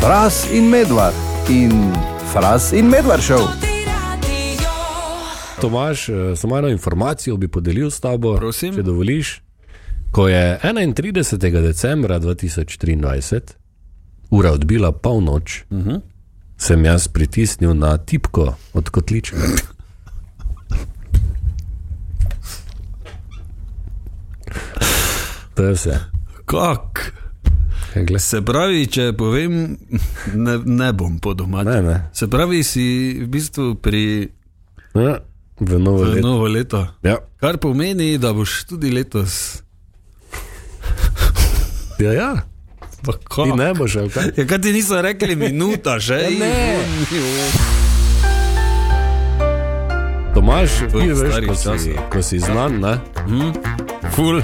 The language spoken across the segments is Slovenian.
Fras in medvard in Fras in medvard šel. Tomaš, eh, samo eno informacijo bi podelil s tabo, Prosim. če dovoliš. Ko je 31. decembra 2023 ura odbila polnoč, uh -huh. sem jaz pritisnil na tipko od kotlička. to je vse. Kak? Ej, glej. Se pravi, če povem, ne, ne bom podomač. Ne, ne. Se pravi, si v bistvu pri Ja, v novo leto. leto. novo leto. Ja. Kar pomeni, da boš tudi letos. Ja, ja. Pa Ti kaj? ne boš, ali kaj? Ja, kaj ti niso rekli, minuta že? Ja, ne. Tomaš, To ti je ja. veš, starih ko si, časov. ko si znan, ne? Mhm. Ful.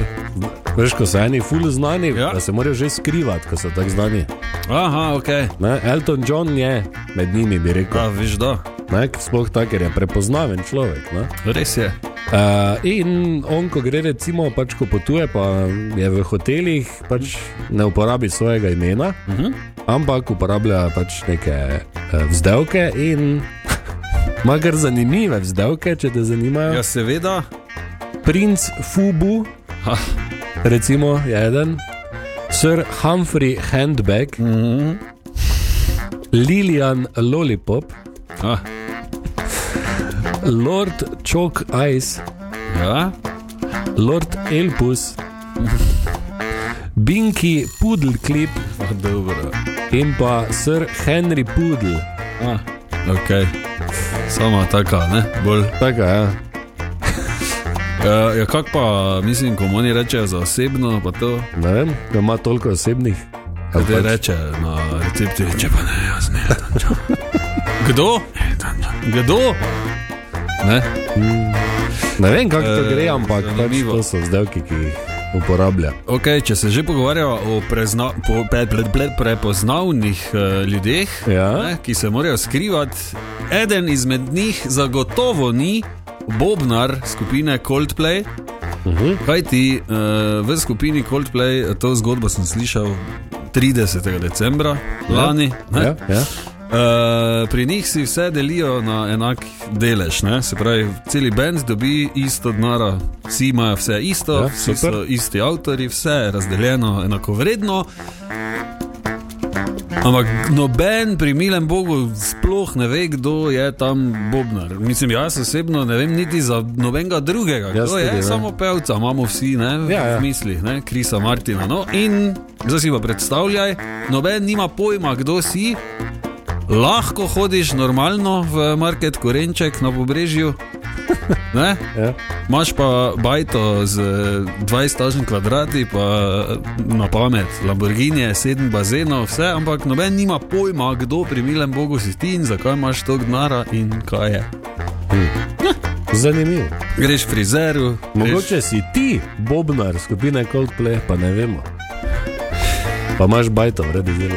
Veš, ko so eni ful znani, ja. Ja. da se morajo že skrivati, ko so tako znani. Aha, ok. Ne? Elton John je med njimi, bi rekel. Ja, veš, da. Ne? Sploh tako, ker je prepoznaven človek. Ne? Res je. Uh, in on, ko gre recimo, pač ko potuje, pa je v hotelih, pač ne uporabi svojega imena, uh Mhm. -huh. ampak uporablja pač neke uh, vzdevke in ima kar zanimive vzdevke, če te zanimajo. Ja, seveda. Princ Fubu, Ha. recimo, je eden, Sir Humphrey Handbag, mm -hmm. Lilian Lollipop, Ah, Lord Chalk Ice, ja. Lord Elpus, Binky Poodle Clip Ah, dobro. in pa Sir Henry Poodle. Ah, ok. Sama taka, ne? Bolj. Tako je. Ja, ja kako pa, mislim, ko mu oni rečejo za osebno, pa to. Ne vem, da ima toliko osebnih. pač- Kaj ti reče na recepciji, če pač- pa ne, jaz ne. Elton John. Kdo? Elton John. Kdo? Ne? Ne vem, kako to Eh, gre, ampak pač zanimivo. to so zdevki, ki jih uporablja. Okay, če se že pogovarjamo o prezna, po, pre, pre, pre, prepoznavnih uh, ljudeh, Ja. ne, ki se morajo skrivati, eden izmed njih zagotovo ni Bobnar skupine Coldplay. Uh -huh. Kaj ti uh, v skupini Coldplay, to zgodbo sem slišal 30. decembra lani. ne. Ja, ja. Uh, pri njih si vse delijo na enak delež, ne? se pravi, cel bend dobi isto denara, vsi imajo vse isto, Ja, ja, vsi super. so isti avtori, vse je razdeljeno enako vredno. Ampak noben pri milem Bogu sploh ne ve, kdo je tam Bobnar. Mislim, jaz osebno ne vem niti za nobenega drugega. Jaz Kdo tudi ja. je ne. samo pevca, imamo vsi ne, Ja, ja, ja. ja. v mislih, ne, Krisa Martina. No, in zdaj si pa predstavljaj, noben nima pojma, kdo si. Lahko hodiš normalno v market Korenček na pobrežju. Ne? Ja. Imaš pa bajto z eh, 20 kvadrati, pa eh, na pamet, Lamborghini, sedem bazenov, vse, ampak noben nima pojma, kdo pri milem Bogu si ti in zakaj imaš toliko denara in kaj je. Zanimivo. Greš frizeru, greš, Mogoče si ti, Bobnar, skupine Coldplay, pa ne vemo. Pa imaš bajto, vredi zelo.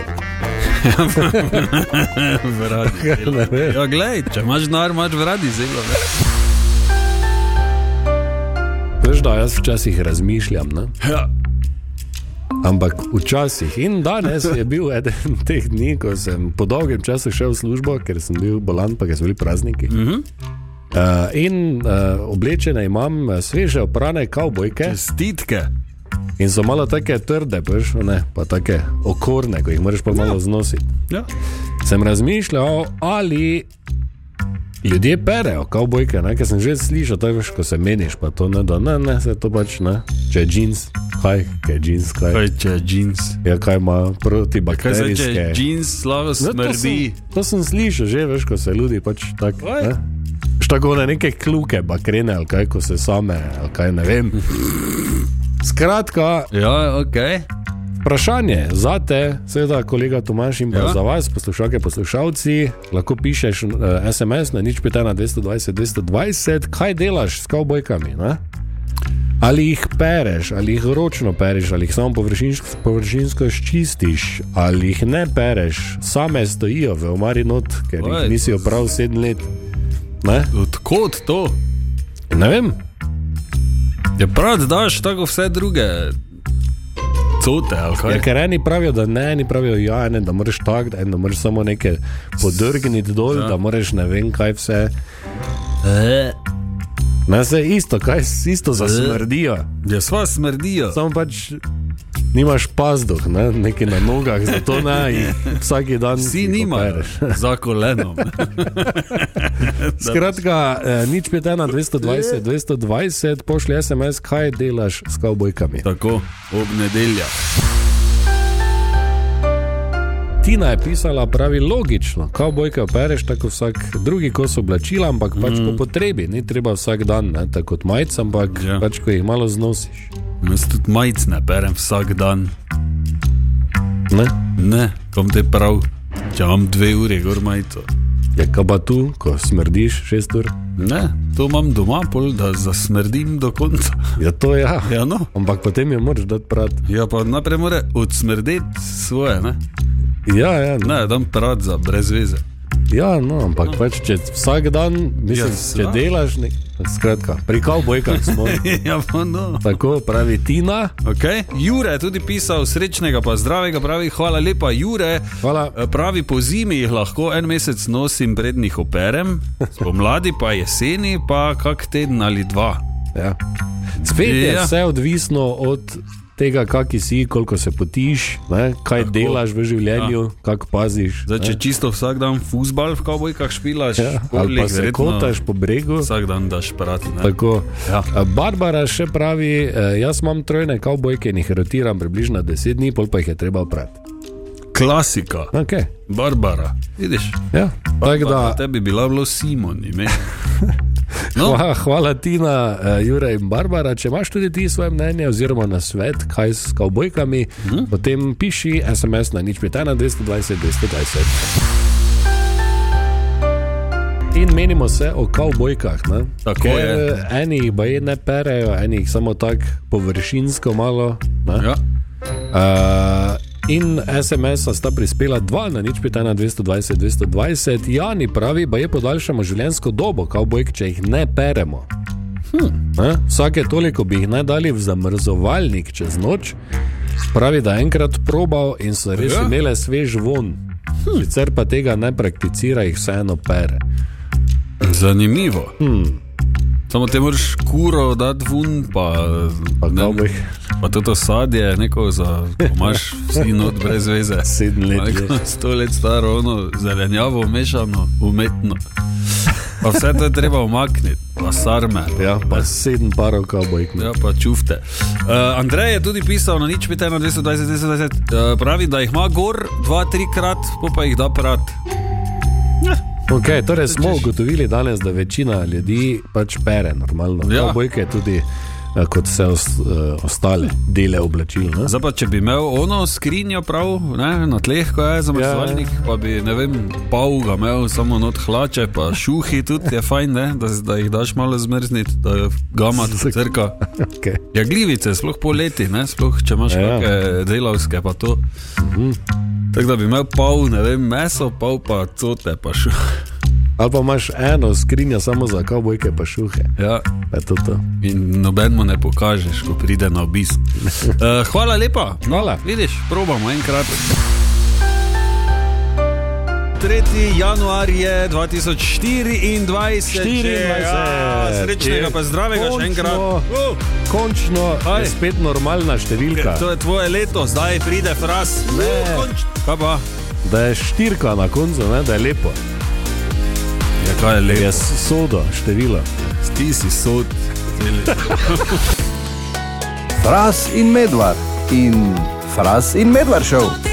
v radi. Ne vem. Ja, glej, če imaš denar, imaš v radi zelo. ne. Veš, da jaz včasih razmišljam, ne? Ja. ampak včasih in danes je bil eden teh dni, ko sem po dolgem času šel v službo, ker sem bil bolan, pa ker so bili prazniki. Mm -hmm. Uh, in uh, oblečene imam eh, sveže oprane kavbojke Stitke. in so malo tako trde, pa, ne, pa tako okorne, ko jih moraš pa malo znositi. Ja. sem razmišljal, ali ljudje perejo kavbojke, ne, ker sem že slišal, to je veš, ko se meniš, pa to ne da, ne, ne, se to pač ne. Če je jeans, kaj, kaj je jeans, kaj, Kaj če je jeans? ja, kaj ima Kaj se če je protibakterijske. jeans, slava No, to, sem, smrdi. to sem slišal že, veš, ko se ljudje pač tako. Oj. ne. Štago na neke kluke, bakrene ali kaj, ko se same, ali kaj ne vem. Skratka, Ja, ok. Vprašanje za te, seveda, kolega Tomaš in pa ja. Ja. za vas, poslušalke, poslušalci. Lahko pišeš uh, SMS na nič peta na 220, 220, kaj delaš s kavbojkami. Ne? Ali jih pereš, ali jih ročno pereš, ali jih samo površinsko, površinsko ščistiš, ali jih ne pereš, same stojijo v omari not, ker Oj. jih nisi opravil sedem let. Ne, Odkot to? ne vem, Ja, Je prav, da daš tako vse druge cote ali kaj. Ja, ker eni pravijo, da ne, eni pravijo, ja, ene, da moraš tako, da, eni, da moraš samo nekaj podrgniti dol, ja. da moraš ne vem kaj vse. Ja. Na se isto, kaj s- isto zasmrdijo. Ja, sva smrdijo. Samo pač nimaš pazduh, ne? nekaj na nogah, zato ne, jih vsak dan Vsi jih nimajo opereš. za kolenom. Skratka, eh, nič pet ena, 220, 220, pošlji SMS, kaj delaš s kavbojkami. Tako, ob nedeljah. Tina je pisala pravi logično, kavbojke opereš tako vsak drugi kos oblačila, ampak pač mm. po potrebi, ni treba vsak dan, ne? tako kot majca, ampak Ja. ja. pač ko jih malo znosiš. Jaz tudi majic ne berem vsak dan. Ne? Ne, kom te prav, če imam dve uri gor majico. Je kabatu, ko smrdiš šest ur. Ne, to imam doma, pol, da zasmrdim do konca. Ja, to ja. Ja, no. Ampak potem jo moraš dati prati. ja pa najprej mora odsmrdeti svoje, ne, Ja, ja, ne tam prad za brez veze. Ja, no, ampak pač, če vsak dan, mislim, Ja, yes, če seveda. delaš, ne, skratka, pri kavbojkah smo. ja, pa no. Tako pravi Tina. Okay. Jure je tudi pisal srečnega, pa zdravega, pravi hvala lepa, Jure. Hvala. E, Pravi po zimi jih lahko en mesec nosim prednjih operem, spomladi pa jeseni pa kak teden ali dva. Ja. Spet je Ja. vse odvisno od tega, kaki si, koliko se potiš, ne, kaj Tako. delaš v življenju, ja. kako paziš. Zdaj, če čisto vsak dan fusbal v kavbojkah špilaš, ja. Ali športlik pa se verjetno kotaš po bregu. Vsak dan daš prati. ne. Tako. Ja. Eh, Barbara še pravi, eh, jaz imam trojne kavbojke in jih rotiram približno 10 dni, pol pa jih je treba oprati. Klasika, Okay. Barbara. Vidiš, Ja. Tako da, da tebi bi bila bilo Simon, ime. No, Hvala, hvala Tina, eh, Jure in Barbara. Če imaš tudi ti svoje mnenje oziroma na svet, kaj s kavbojkami, Mhm. hmm? potem piši SMS na nič petana 220 220. In menimo se o kavbojkah. ne? Tako Ker, je. eh, Eni jih baje ne perejo, eni jih samo tako površinsko malo. ne? ja. Uh, in SMS-a sta prispela 2 na nič 5 na 220, 220. Jani pravi, da je podaljšamo življenjsko dobo, kavbojk, če jih ne peremo. Hm. Vsake toliko bi jih naj dali v zamrzovalnik čez noč. Pravi, da je enkrat probal in so res Ja. ja. imele svež von. Hm. Sicer pa tega ne prakticira, jih vseeno pere. Zanimivo. Hmm. Samo te moraš kuro dati vun, pa, Pa ne- kavbojk pa to sadje, neko za, ko imaš vsi not brez veze. sedem Pa let. Neko sto let staro, ono zelenjavo, mešano, umetno. Pa vse to je treba umakniti, pa sarme. je. Ja, pa sedem parov kavbojk. Ja, pa čufte. Uh, Andrej je tudi pisal na nič 5, 120, 220. Uh, pravi, da jih ima gor 2-3 krat, pol pa jih da prat. Okay, torej smo ugotovili danes, da večina ljudi pač pere normalno. Ja. Ja. Bojke tudi eh, kot vse os, eh, ostale dele oblačil. ne? Zdaj pa, če bi imel ono skrinjo prav, ne, na tleh, ko je zamrzovalnik, ja, pa bi ne vem, pol ga imel, samo not hlače, pa šuhi tudi je fajn, ne, da, da jih daš malo zmrzniti, da je gama crka. Okay. Ja, glivice, sploh poleti, ne, sploh če imaš ja. Mhm. Ja. kakšne delavske, pa to. Tako da bi imel pol, ne vem, meso, pol pa cote, pa šuhi. Ali pa imaš eno skrinjo samo za kavbojke, pa šuhe. Ja. Pa je to to. In noben mu ne pokažeš, ko pride na obisk. Uh, hvala lepa. Hvala. Vidiš, probamo enkrat. 3. januar je 2024, 24. Ja, srečnega, pa zdravega še enkrat. Končno. Uh, Končno Aj. Ja, je spet normalna številka, to je tvoje leto, zdaj pride fras. Uh, Ne. konč- Kaj pa? da je štirka na koncu, ne, da je lepo. Ja, kaj je Je leto? s- sodo, število. Ti si sod. Fras in Medvard in Fras in Medvard šov. Toti